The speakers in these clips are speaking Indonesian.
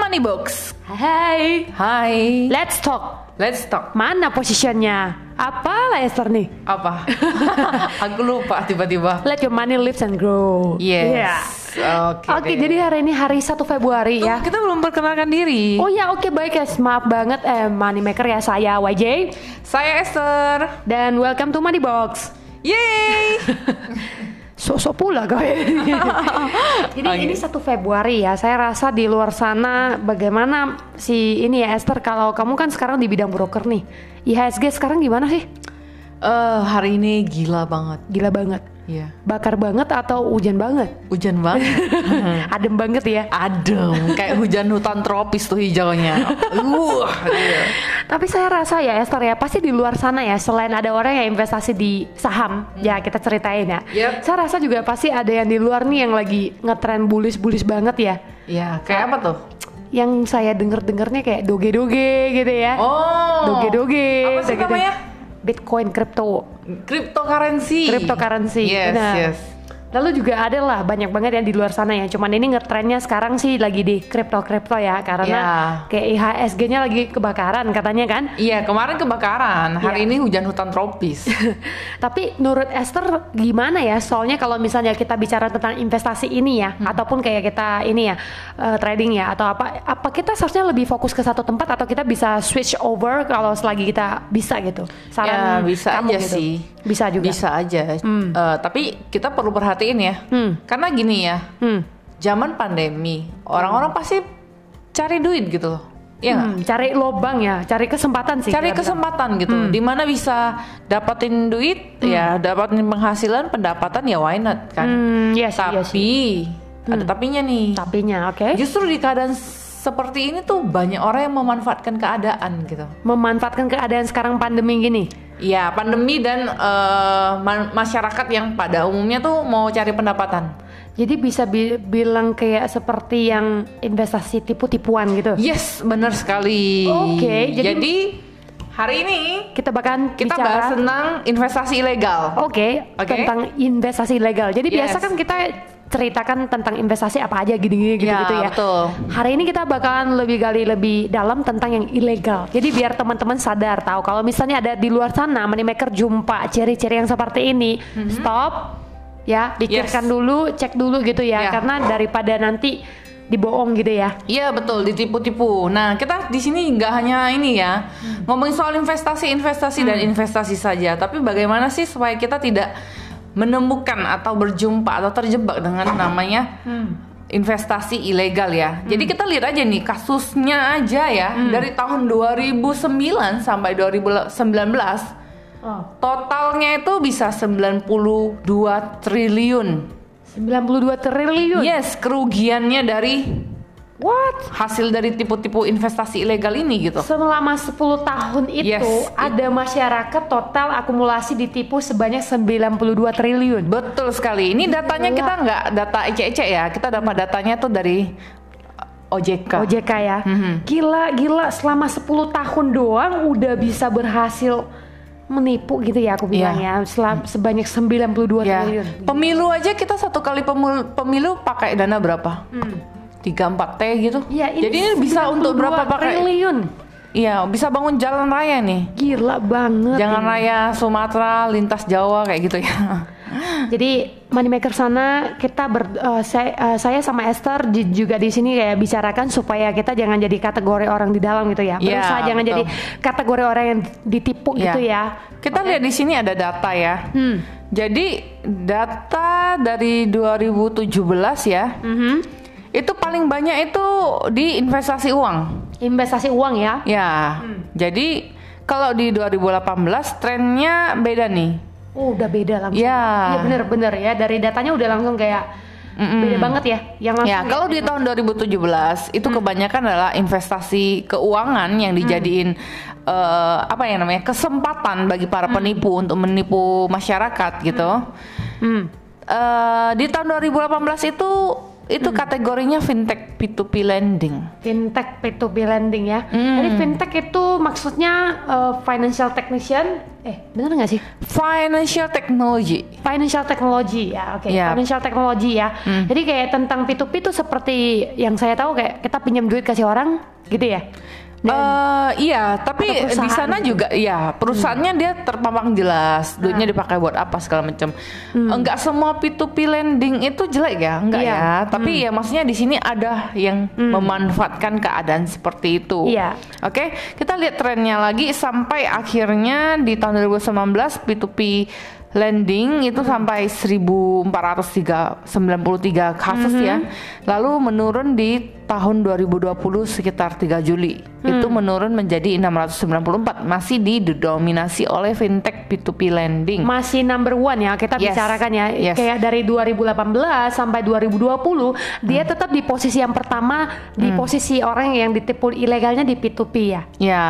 Money Box. Hai. Hai. Let's talk. Let's talk. Mana positionnya? Apa Lester nih? Apa? Aku lupa tiba-tiba. Let your money lives and grow. Yes. Iya. Oke. Oke, deh. jadi hari ini hari 1 Februari Tuh, ya. kita belum perkenalkan diri. Oh ya, oke baik guys. Maaf banget eh money maker ya saya YJ Saya Esther. dan welcome to Money Box. Yeay. Sosok pula kayaknya. Jadi Oke. ini 1 Februari ya. Saya rasa di luar sana bagaimana si ini ya Esther kalau kamu kan sekarang di bidang broker nih. IHSG sekarang gimana sih? Eh, hari ini gila banget. Gila banget. Iya. Bakar banget atau hujan banget? Hujan banget. Adem banget ya. Adem, kayak hujan hutan tropis tuh hijaunya. Wah. iya. Tapi saya rasa ya Esther ya pasti di luar sana ya selain ada orang yang investasi di saham ya kita ceritain ya. Hmm. Yep. Saya rasa juga pasti ada yang di luar nih yang lagi ngetren bullish-bullish banget ya. Iya, kayak apa tuh? Yang saya denger-dengernya kayak doge-doge gitu ya. Oh. Doge-doge. Apa sih kayak gitu. namanya? Bitcoin crypto, Cryptocurrency. cryptocurrency. Yes, Nah, yes. Lalu juga ada lah banyak banget yang di luar sana ya. Cuman ini ngetrennya sekarang sih lagi di crypto-crypto ya karena Ya. kayak IHSG-nya lagi kebakaran katanya kan. Iya, kemarin kebakaran. Hari Iya. ini hujan hutan tropis. Tapi menurut Esther gimana ya? Soalnya kalau misalnya kita bicara tentang investasi Hmm. ini ya, ataupun kayak kita ini ya eh, trading ya atau apa, apa kita seharusnya lebih fokus ke satu tempat atau kita bisa switch over kalau selagi kita bisa gitu? ya, Saran bisa kamu aja gitu. sih. Bisa juga. Bisa aja. Eh, tapi kita perlu perhatiin ya. Hmm. Karena gini ya, Hmm. zaman pandemi, orang-orang pasti cari duit gitu loh. Iya nggak? Hmm, cari lobang ya, cari kesempatan sih. Cari kita bilang. kesempatan gitu. Hmm. Dimana bisa dapatin duit, ya dapatin penghasilan, pendapatan ya why not kan. Hmm, yes, iya sih. Tapi Hmm. ada tapinya nih. Tapinya, oke. Justru di keadaan seperti ini tuh banyak orang yang memanfaatkan keadaan gitu. Memanfaatkan keadaan sekarang pandemi gini. Ya, pandemi dan eh, ma- masyarakat yang pada umumnya tuh mau cari pendapatan. Jadi bisa bi- bilang kayak seperti yang investasi tipu-tipuan gitu. Yes, benar sekali. Oke, jadi- hari ini Kita bahkan kita bicara bahas tentang investasi ilegal. Oke, Oke. tentang investasi ilegal. Jadi biasa Yes. kan kita ceritakan tentang investasi apa aja gini-gini gitu, Ya, gitu ya. betul. Hari ini kita bakalan lebih gali lebih dalam tentang yang ilegal. Jadi biar teman-teman sadar tahu kalau misalnya ada di luar sana money maker jumpa ciri-ciri yang seperti ini, stop ya, Mhm. pikirkan Yes. dulu, cek dulu gitu ya, Ya. karena daripada nanti dibohong gitu ya. Iya betul ditipu-tipu. Nah kita di sini nggak hanya ini ya ngomongin soal investasi, investasi dan Hmm. investasi saja. Tapi bagaimana sih supaya kita tidak menemukan atau berjumpa atau terjebak dengan namanya investasi ilegal ya. Jadi kita lihat aja nih kasusnya aja ya dari tahun 2009 sampai 2019 Oh, totalnya itu bisa 92 triliun. 92 triliun. Yes kerugiannya dari What? hasil dari tipu-tipu investasi ilegal ini gitu. Selama 10 tahun itu Yes, itu. ada masyarakat total akumulasi ditipu sebanyak 92 triliun. Betul sekali. Ini datanya kita nggak data ece-ece ya. Kita dapat datanya tuh dari uh, OJK. OJK ya. Mm-hmm. Gila gila selama 10 tahun doang udah bisa berhasil menipu gitu ya aku Iya. bilang ya. Mm. Selam- sebanyak 92 Ya. triliun. Pemilu aja kita satu kali pemilu, pemilu pakai dana berapa? 3-4 T gitu. Ya, Hmm. ini Jadi ini bisa untuk 92 berapa pakai? triliun. Iya, bisa bangun jalan raya nih. Gila banget. Jalan raya Sumatera, lintas Jawa kayak gitu ya. Jadi moneymaker sana kita ber, eh, saya, eh, saya sama Esther di- juga di sini kayak bicarakan supaya kita jangan jadi kategori orang di dalam gitu ya. Iya, Berusaha jangan betul. jadi kategori orang yang ditipu Iya. gitu ya. Kita lihat di sini ada data ya. Hmm. Jadi data dari 2017 ya, Mhm. itu paling banyak itu di investasi uang. Investasi uang ya. Ya. Jadi kalau di 2018 trennya beda nih. Oh, udah beda langsung. Iya. Iya bener-bener ya. Dari datanya udah langsung kayak beda banget ya. Yang langsung. Ya, kalau di tahun 2017 itu kebanyakan adalah investasi keuangan yang dijadiin eh, apa ya namanya? kesempatan bagi para penipu untuk menipu masyarakat gitu. Hmm. Eh, di tahun 2018 itu itu kategorinya fintech P2P lending. Fintech P2P lending ya. Hmm. Jadi fintech itu maksudnya eh, financial technician. Eh, bener nggak sih? Financial technology. Financial technology ya, oke. Yap. Financial technology ya. Hmm. Jadi kayak tentang P2P itu seperti yang saya tahu kayak kita pinjam duit kasih orang gitu ya. Dan- Eh, iya, tapi Atau perusahaan Hmm. di sana gitu. juga ya perusahaannya dia terpampang jelas duitnya Nah. dipakai buat apa segala macam. Enggak semua P2P lending itu jelek ya, enggak Hmm. Iya. Hmm. ya. Tapi ya maksudnya di sini ada yang memanfaatkan keadaan seperti itu. Iya. Oke, kita lihat trennya lagi sampai akhirnya di tahun 2019 P2P lending itu sampai 1493 93 kasus ya. Lalu menurun di tahun 2020 sekitar 3 Juli. Itu menurun menjadi 694, masih didominasi oleh fintech P2P lending. masih number one ya kita Hmm. Yes. bicarakan ya Yes. kayak dari 2018 sampai 2020 dia Hmm. tetap di posisi yang pertama di posisi orang yang ditipu ilegalnya di P2P ya Ya.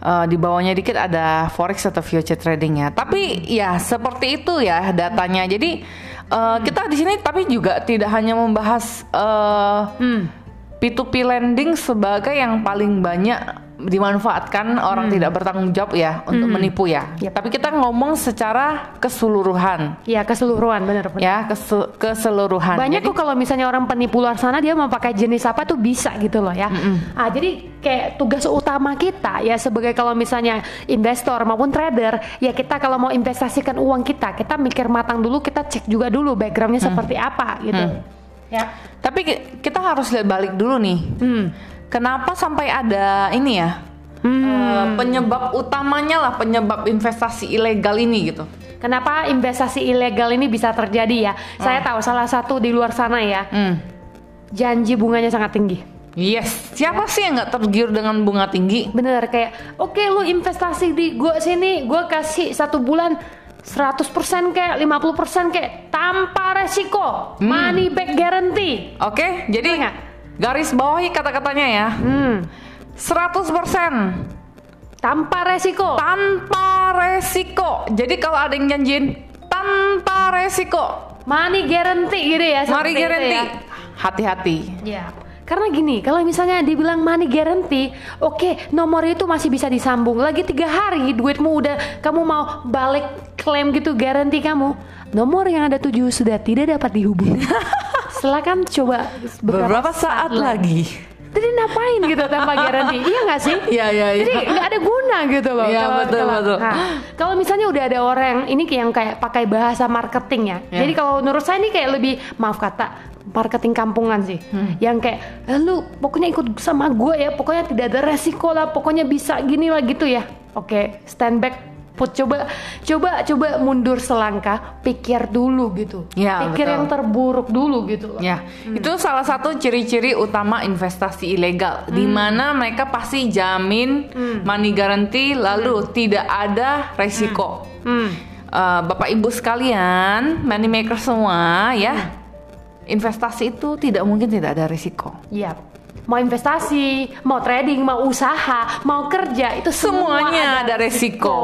eh, di bawahnya dikit ada forex atau future trading ya. Tapi ya seperti itu ya datanya. Jadi eh, kita di sini tapi juga tidak hanya membahas eh, P2P lending sebagai yang paling banyak dimanfaatkan orang tidak bertanggung jawab ya untuk menipu ya. Yap. Tapi kita ngomong secara keseluruhan ya keseluruhan bener bener ya kesu- keseluruhan. Kan, banyak Jadi- kok kalau misalnya orang penipu luar sana dia mau pakai jenis apa tuh bisa gitu loh ya ah jadi kayak tugas utama kita ya sebagai kalau misalnya investor maupun trader ya kita kalau mau investasikan uang kita kita mikir matang dulu kita cek juga dulu backgroundnya seperti apa gitu ya Tapi ki- kita harus lihat balik dulu nih. Hmm. Kenapa sampai ada ini ya? Eh, penyebab utamanya lah penyebab investasi ilegal ini gitu. Kenapa investasi ilegal ini bisa terjadi ya? Saya tahu salah satu di luar sana ya, janji bunganya sangat tinggi. Yes. Siapa sih yang nggak tergiur dengan bunga tinggi? Bener kayak, oke lu investasi di gua sini, gua kasih satu bulan 100% kayak 50% kayak tanpa resiko, money back guarantee. Oke, jadi Betul nggak? garis bawahi kata-katanya ya. Hmm, 100% tanpa resiko. tanpa resiko. Jadi kalau ada yang janjiin tanpa resiko, money guarantee gitu ya. seperti mari itu guarantee. ya. Hati-hati. Ya, karena gini, kalau misalnya dibilang money guarantee, oke, nomor itu masih bisa disambung. Lagi tiga hari duitmu udah kamu mau balik klaim gitu garanti kamu. Nomor yang ada tujuh sudah tidak dapat dihubungi. Silakan coba beberapa. Beberapa saat lagi. Jadi ngapain gitu tanpa garanti? iya nggak sih? Iya, iya, iya. Jadi nggak ada guna gitu loh. Iya, kalau- betul, kalau- betul. Nah, kalau misalnya udah ada orang ini kayak yang kayak pakai bahasa marketing ya. Iya. Jadi kalau menurut saya ini kayak lebih maaf kata marketing kampungan sih. Hmm. Yang kayak "Eh, lu pokoknya ikut sama gue ya, pokoknya tidak ada resiko lah, pokoknya bisa gini lah gitu ya. Oke, stand back put coba coba coba mundur selangkah, pikir dulu gitu. Iya, pikir betul. yang terburuk dulu gitu loh. Ya, itu salah satu ciri-ciri utama investasi ilegal, Hmm. di mana mereka pasti jamin money guarantee, lalu tidak ada resiko. Hmm. Eh, Bapak Ibu sekalian, money maker semua ya, Hmm. investasi itu tidak mungkin tidak ada resiko. Iya. Mau investasi, mau trading, mau usaha, mau kerja, itu semua Semuanya ada resiko,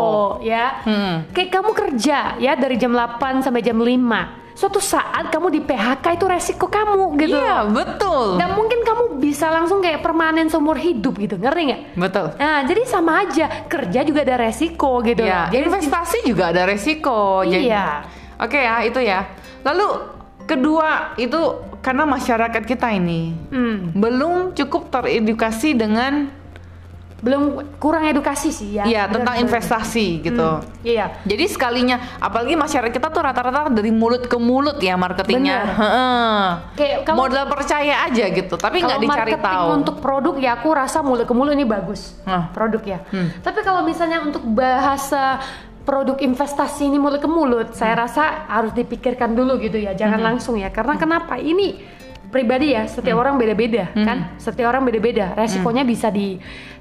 ya. Hmm. Kayak kamu kerja ya dari jam 8 sampai jam 5. Suatu saat kamu di PHK itu resiko kamu gitu. Iya, betul, Nggak mungkin kamu bisa langsung kayak permanen seumur hidup gitu, ngerti nggak? betul. Nah, jadi sama aja kerja juga ada resiko gitu. Ya, loh. Jadi investasi juga ada resiko. Jadi- Iya. Oke ya, itu ya. Lalu kedua itu karena masyarakat kita ini hmm, belum cukup teredukasi dengan belum kurang edukasi sih ya. ya tentang Bener-bener. investasi gitu. Iya. Jadi sekalinya, apalagi masyarakat kita tuh rata-rata dari mulut ke mulut ya marketingnya. Bener. Heeh. Kayak kalau- modal percaya aja gitu, tapi nggak Kalau dicari marketing tahu. untuk produk ya aku rasa mulut ke mulut ini bagus Nah. produk ya. Tapi kalau misalnya untuk bahasa produk investasi ini mulut ke mulut, saya Hmm. rasa harus dipikirkan dulu gitu ya, jangan langsung ya. Karena kenapa ini pribadi ya, Hmm. setiap orang beda-beda kan, setiap orang beda-beda. Resikonya bisa di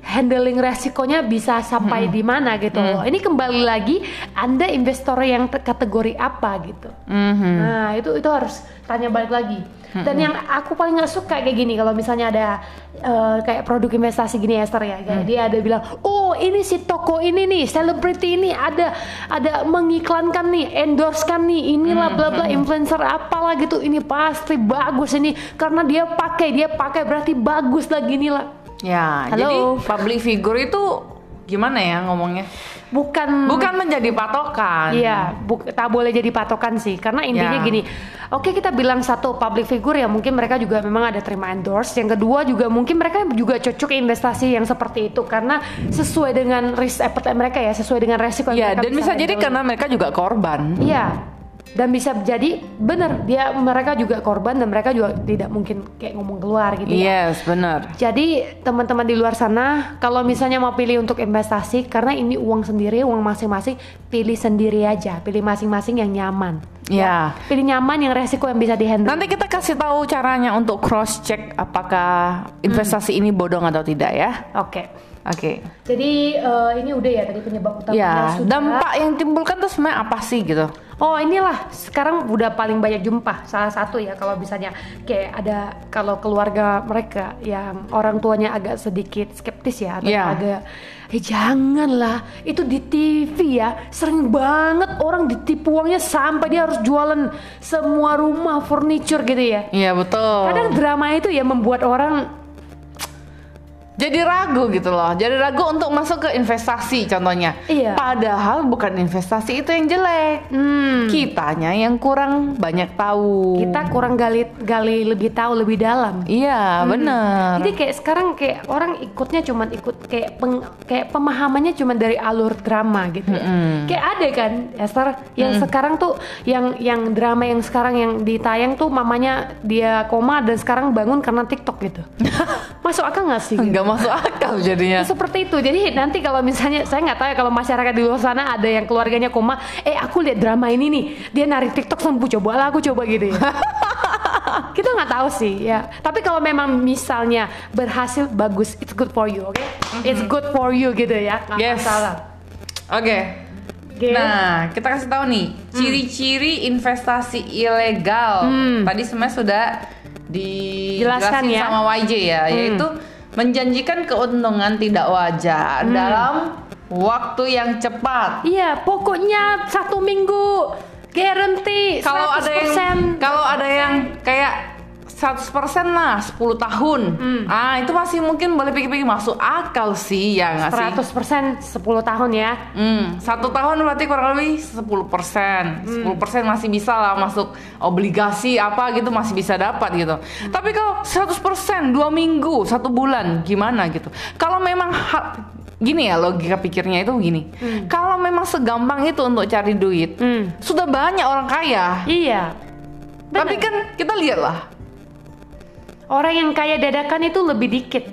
handling resikonya bisa Hmm. sampai di mana gitu. loh. Ini kembali lagi Anda investor yang te- kategori apa gitu. Mhm. Nah, itu itu harus tanya balik lagi. Dan yang aku paling nggak suka kayak gini kalau misalnya ada eh, kayak produk investasi gini Esther ya, kayak dia ada bilang, oh ini si toko ini nih, selebriti ini ada ada mengiklankan nih, endorsekan nih, inilah bla bla influencer apalah gitu, ini pasti bagus ini karena dia pakai dia pakai berarti bagus lah gini lah. Ya, Halo. jadi public figure itu gimana ya ngomongnya? Bukan Bukan menjadi patokan. Hmm. Iya, buk- tak boleh jadi patokan sih, karena intinya Ya. gini. Oke kita bilang satu public figure ya mungkin mereka juga memang ada terima endorse. Yang kedua juga mungkin mereka juga cocok investasi yang seperti itu karena sesuai dengan risk appetite mereka ya, sesuai dengan resiko. yang Ya, mereka dan bisa jadi handle. karena mereka juga korban. Iya, dan bisa jadi bener dia mereka juga korban dan mereka juga tidak mungkin kayak ngomong keluar gitu. ya. Yes, benar. Jadi teman-teman di luar sana kalau misalnya mau pilih untuk investasi karena ini uang sendiri, uang masing-masing, pilih sendiri aja, pilih masing-masing yang nyaman. Ya. Pilih nyaman yang resiko yang bisa dihandle. Nanti kita kasih tahu caranya untuk cross check apakah investasi ini bodong atau tidak ya. Oke. Oke. Jadi eh, ini udah ya tadi penyebab utamanya Ya, sudah. dampak yang timbulkan tuh sebenarnya apa sih gitu? Oh inilah sekarang udah paling banyak jumpa salah satu ya kalau misalnya kayak ada kalau keluarga mereka yang orang tuanya agak sedikit skeptis ya atau Iya. agak eh janganlah itu di TV ya sering banget orang ditipu uangnya sampai dia harus jualan semua rumah furniture gitu ya Iya, betul. kadang drama itu ya membuat orang jadi ragu gitu loh. Jadi ragu untuk masuk ke investasi contohnya. Iya. Padahal bukan investasi itu yang jelek. hmm, Kitanya yang kurang banyak tahu. kita kurang gali gali lebih tahu lebih dalam Hmm. Iya, benar. Jadi kayak sekarang kayak orang ikutnya cuman ikut kayak peng- kayak pemahamannya cuman dari alur drama gitu. ya. Kayak ada kan Esther yang sekarang tuh yang yang drama yang sekarang yang ditayang tuh mamanya dia koma dan sekarang bangun karena TikTok gitu. Masuk akal nggak sih? Nggak masuk akal jadinya. Seperti itu. Jadi nanti kalau misalnya saya nggak tahu ya kalau masyarakat di luar sana ada yang keluarganya koma, eh aku lihat drama ini nih, dia narik TikTok sembuh coba lah aku coba gitu ya. Kita nggak tahu sih ya. Tapi kalau memang misalnya berhasil bagus, it's good for you, oke? It's good for you gitu ya. Nggak Mm-hmm. Yes. masalah. Oke. Oke. Hmm. Nah, kita kasih tahu nih ciri-ciri investasi ilegal. Tadi sebenarnya sudah Jelaskan dijelasin Hmm. ya. sama YJ ya, yaitu menjanjikan keuntungan tidak wajar Hmm. dalam waktu yang cepat. Iya, pokoknya satu minggu guarantee Kalau ada yang 100%. kalau ada yang kayak 100% lah 10 tahun. Hmm. Ah, itu masih mungkin boleh pikir-pikir masuk akal sih ya nggak sih? 100% 10 tahun ya. Hmm, satu tahun berarti kurang lebih 10 persen. Hmm. 10 masih bisa lah masuk obligasi apa gitu masih bisa dapat gitu. Hmm. Tapi kalau 100 dua minggu, satu bulan gimana gitu? Kalau memang hal- gini ya logika pikirnya itu gini. Kalau memang segampang itu untuk cari duit, Hmm. sudah banyak orang kaya. Iya. Tapi kan kita lihat lah, Orang yang kaya dadakan itu lebih dikit.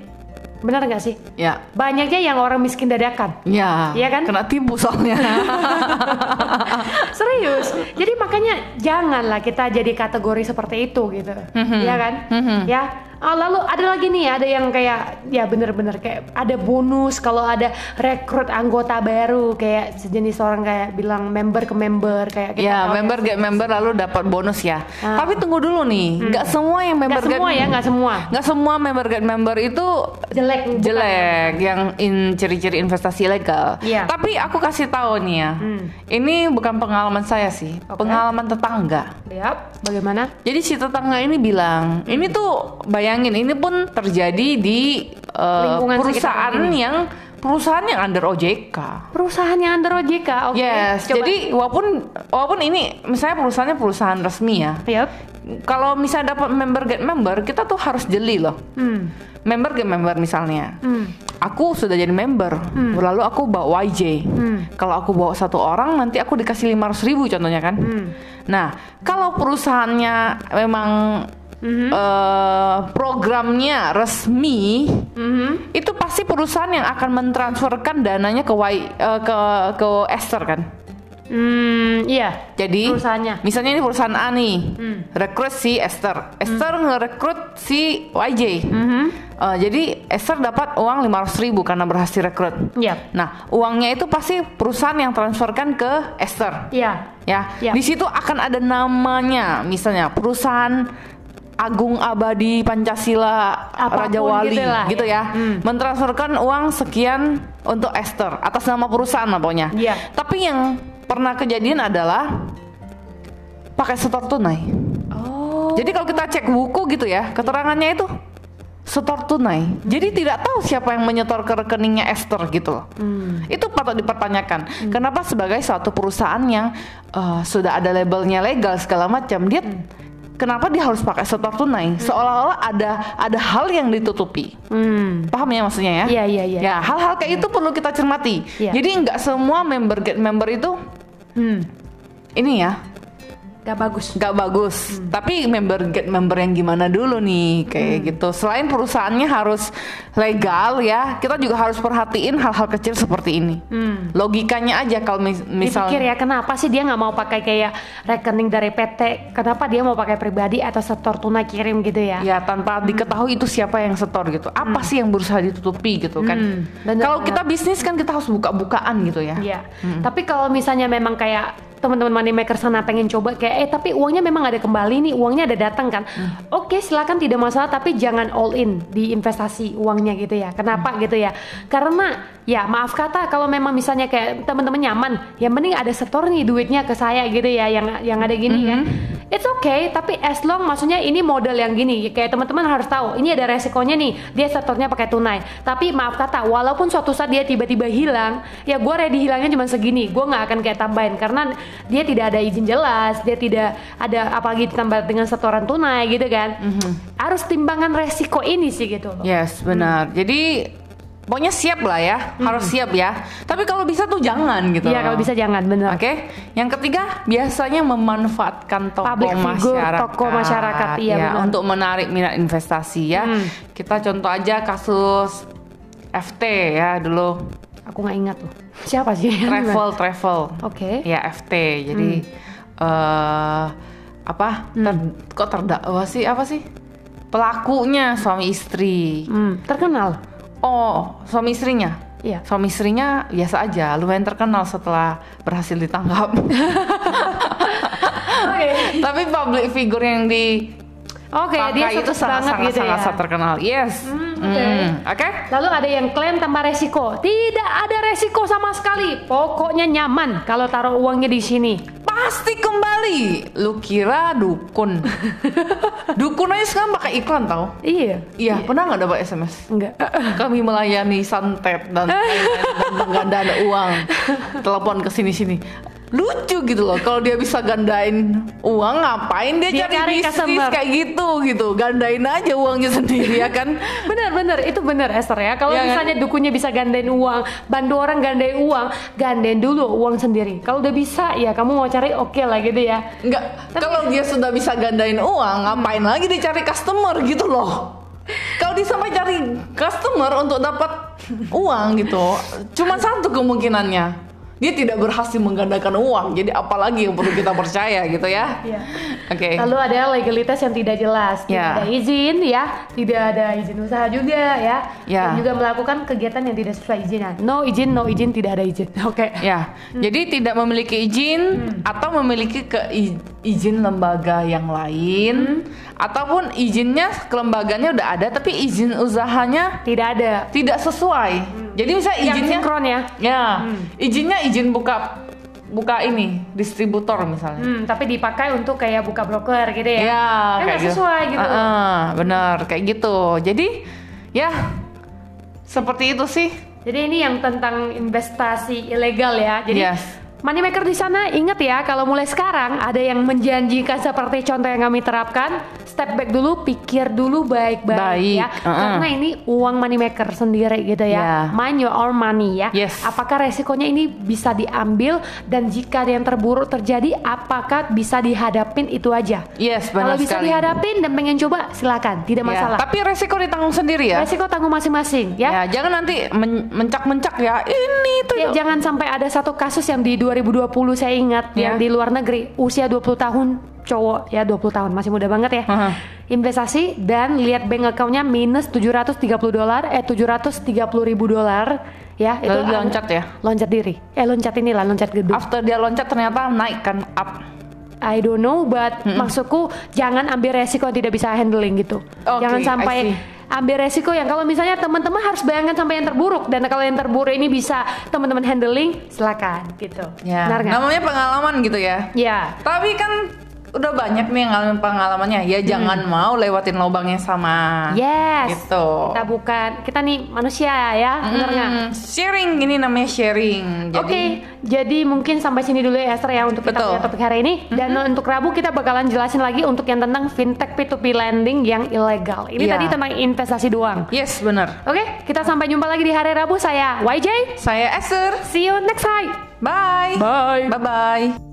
Benar nggak sih? ya, Banyaknya yang orang miskin dadakan. ya, Iya kan? kena tipu soalnya. Ah. Serius. Jadi makanya janganlah kita jadi kategori seperti itu gitu. Mm-hmm. Iya kan? Ya. Ah, lalu ada lagi nih, ada yang kayak ya bener-bener kayak ada bonus kalau ada rekrut anggota baru kayak sejenis orang kayak bilang member ke member kayak kita Ya, tahu member get member lalu dapat bonus ya. Tapi tunggu dulu nih, nggak semua yang member kan- Ah. Hmm. Nggak semua get ya, nggak semua. Nggak semua member get member itu jelek bukan? jelek yang in ciri-ciri investasi ilegal. Iya. Hmm. Tapi aku kasih tahu nih ya. Ini bukan pengalaman saya sih, pengalaman tetangga. Yap, bagaimana? Jadi si tetangga ini bilang, ini Hmm. tuh bayangin ini pun terjadi di eh, Lingkungan sekitar perusahaan ini. yang perusahaan yang under OJK. Perusahaannya Andro JK, oke. Yes, coba. jadi walaupun walaupun ini misalnya perusahaannya perusahaan resmi ya. Yap. Kalau misalnya dapat member get member, kita tuh harus jeli loh. Hmm. Member get member misalnya. Hmm. Aku sudah jadi member, lalu aku bawa YJ. Kalau aku bawa satu orang, nanti aku dikasih 500 ribu contohnya kan. Nah, kalau perusahaannya memang eh, programnya resmi, Mhm. itu pasti perusahaan yang akan mentransferkan dananya ke Y- eh, ke ke Esther kan. Hmm, iya. Jadi Perusahaannya. Misalnya ini perusahaan A nih, rekrut si Esther. Esther ngerekrut si YJ. Hmm. Mm-hmm. Eh, jadi Esther dapat uang 500.000 ribu karena berhasil rekrut. Yap. Nah, uangnya itu pasti perusahaan yang transferkan ke Esther. Iya. Ya, Ya. di situ akan ada namanya, misalnya perusahaan Agung Abadi Pancasila Apapun Raja Wali gitu gitu, lah, ya. ya. Mentransferkan uang sekian untuk Esther atas nama perusahaan lah pokoknya. Iya. Tapi yang pernah kejadian adalah pakai setor tunai. Oh. Jadi kalau kita cek buku gitu ya, keterangannya itu setor tunai. Jadi tidak tahu siapa yang menyetor ke rekeningnya Esther gitu loh. Hmm. Itu patut dipertanyakan. Kenapa sebagai suatu perusahaan yang eh, sudah ada labelnya legal segala macam, dia Hmm. kenapa dia harus pakai setor tunai? Seolah-olah ada ada hal yang ditutupi. Hmm. Paham ya maksudnya ya? Iya, iya, iya. Ya, hal-hal kayak itu perlu kita cermati. Iya. Jadi nggak semua member member itu Hmm. ini ya, Gak bagus. nggak bagus. Hmm. Tapi member get member yang gimana dulu nih kayak gitu. Selain perusahaannya harus legal ya, kita juga harus perhatiin hal-hal kecil seperti ini. Logikanya aja kalau mis- misalnya Hmm. Dipikir ya kenapa sih dia nggak mau pakai kayak rekening dari PT? Kenapa dia mau pakai pribadi atau setor tunai kirim gitu ya? Ya tanpa diketahui itu siapa yang setor gitu. Apa sih yang berusaha ditutupi gitu kan? Hmm, bener Kalau banget. kita bisnis kan kita harus buka-bukaan gitu ya. Iya. Tapi kalau misalnya memang kayak teman-teman money maker sana pengen coba kayak eh tapi uangnya memang ada kembali nih, uangnya ada datang kan. Oke, silakan tidak masalah tapi jangan all in di investasi uangnya gitu ya. Kenapa gitu ya? Karena ya maaf kata kalau memang misalnya kayak teman-teman nyaman, yang penting ada setor nih duitnya ke saya gitu ya yang yang ada gini kan. It's okay, tapi as long maksudnya ini model yang gini kayak teman-teman harus tahu ini ada resikonya nih dia setornya pakai tunai tapi maaf kata walaupun suatu saat dia tiba-tiba hilang ya gue ready hilangnya cuma segini gue nggak akan kayak tambahin karena dia tidak ada izin jelas dia tidak ada apalagi ditambah dengan setoran tunai gitu kan Mhm. harus timbangan resiko ini sih gitu loh Yes, benar. Jadi pokoknya siap lah ya, harus siap ya. Tapi kalau bisa tuh jangan gitu. Hmm. Iya kalau loh. bisa jangan bener Nah, Oke, yang ketiga biasanya memanfaatkan tokoh Public figure, masyarakat, tokoh masyarakat, ya, iya, benar. Hmm. untuk menarik minat investasi ya. Kita contoh aja kasus FT ya dulu aku nggak ingat tuh siapa sih travel travel, Iya, Oke. Hmm. ya FT. Jadi eh, apa? ter- kok terdakwa sih apa sih? Pelakunya suami istri. Hmm, terkenal Oh, suami istrinya? Iya. Suami istrinya biasa aja, lumayan terkenal setelah berhasil ditangkap. oke Tapi public figure yang di oke dia pakai itu sukses banget sangat-sangat gitu ya Hmm, sangat terkenal. Yes. oke. Mm, Oke. Lalu ada yang klaim tanpa resiko. Tidak ada resiko sama sekali. Pokoknya nyaman kalau taruh uangnya di sini. Pasti kembali. Lu kira dukun? dukun aja sekarang pakai iklan tau? Iya. Iya, pernah nggak dapat SMS? Enggak. Eh, Kami melayani santet dan dan penggandaan uang. Telepon ke sini-sini. Lucu gitu loh kalau dia bisa gandain uang ngapain dia, Dia cari cari, bisnis customer. kayak gitu gitu. Gandain aja uangnya sendiri ya kan. Bener bener itu bener Esther ya. Kalau Iya kan? misalnya dukunnya bisa gandain uang, bantu orang gandain uang, gandain dulu uang sendiri. Kalau udah bisa ya kamu mau cari oke lah gitu ya. Enggak, kalau dia sudah bisa gandain uang, ngapain lagi dicari customer gitu loh. Kalau dia sampai cari customer untuk dapat uang gitu, cuma satu kemungkinannya. Dia tidak berhasil menggandakan uang. Jadi apalagi yang perlu kita percaya gitu ya. Iya. Oke. Lalu ada legalitas yang tidak jelas, Ya. tidak ada izin ya, tidak ada izin usaha juga ya, Ya. dan juga melakukan kegiatan yang tidak sesuai izinan. No izin, no izin, tidak ada izin. Oke. Ya, Hmm. jadi tidak memiliki izin atau memiliki keizin lembaga yang lain Hmm. ataupun izinnya kelembagaannya udah ada tapi izin usahanya Tidak ada. tidak sesuai. Jadi misalnya Hmm. Yang izinnya sinkron ya. Ya, izinnya izin buka buka ini distributor misalnya. Hmm, tapi dipakai untuk kayak buka broker gitu ya. Ya, kan nggak sesuai gitu. Heeh, benar, kayak gitu. Jadi ya seperti itu sih. Jadi ini yang tentang investasi ilegal ya. Jadi Yes. money maker di sana ingat ya kalau mulai sekarang ada yang menjanjikan seperti contoh yang kami terapkan, step back dulu, pikir dulu baik-baik Baik, ya. uh-uh. Karena ini uang money maker sendiri gitu ya. Ya. Mind your own money ya. Yes. Apakah resikonya ini bisa diambil dan jika ada yang terburuk terjadi apakah bisa dihadapin itu aja. Yes, benar Kalau bisa sekali. dihadapin dan pengen coba silakan, tidak Ya, masalah. Tapi resiko ditanggung sendiri ya. Resiko tanggung masing-masing Ya, ya. jangan nanti men- mencak-mencak ya. Ini tuh. Ya, jangan sampai ada satu kasus yang di 2020 saya ingat Ya. yang di luar negeri usia 20 tahun cowok ya 20 tahun masih muda banget ya. Aha. Investasi dan lihat bank account-nya minus 730 dolar eh 730 ribu dolar ya Lalu dia loncat ya? Loncat diri. Eh loncat inilah loncat gedung. After dia loncat ternyata naik kan up. I don't know but maksudku jangan ambil resiko yang tidak bisa handling gitu. Oke, I jangan sampai see. ambil resiko yang kalau misalnya teman-teman harus bayangkan sampai yang terburuk dan kalau yang terburuk ini bisa teman-teman handling silakan gitu. Ya, Benar nggak? namanya pengalaman gitu ya. Ya. Tapi kan udah banyak nih yang ngalamin pengalamannya. Ya jangan mau lewatin lubang yang sama. Hmm. Yes. Gitu. Kita bukan kita nih manusia ya, benar nggak? Mm, sharing ini namanya sharing. Oke, jadi mungkin sampai sini dulu ya Esther ya untuk kita Betul. punya topik hari ini. Dan untuk Rabu kita bakalan jelasin lagi untuk yang tentang fintech P2P lending yang ilegal. Ini Iya. tadi tentang investasi doang. Yes, bener. Oke, kita sampai jumpa lagi di hari Rabu saya YJ. Saya Esther. See you next time. Bye. Bye. Bye-bye.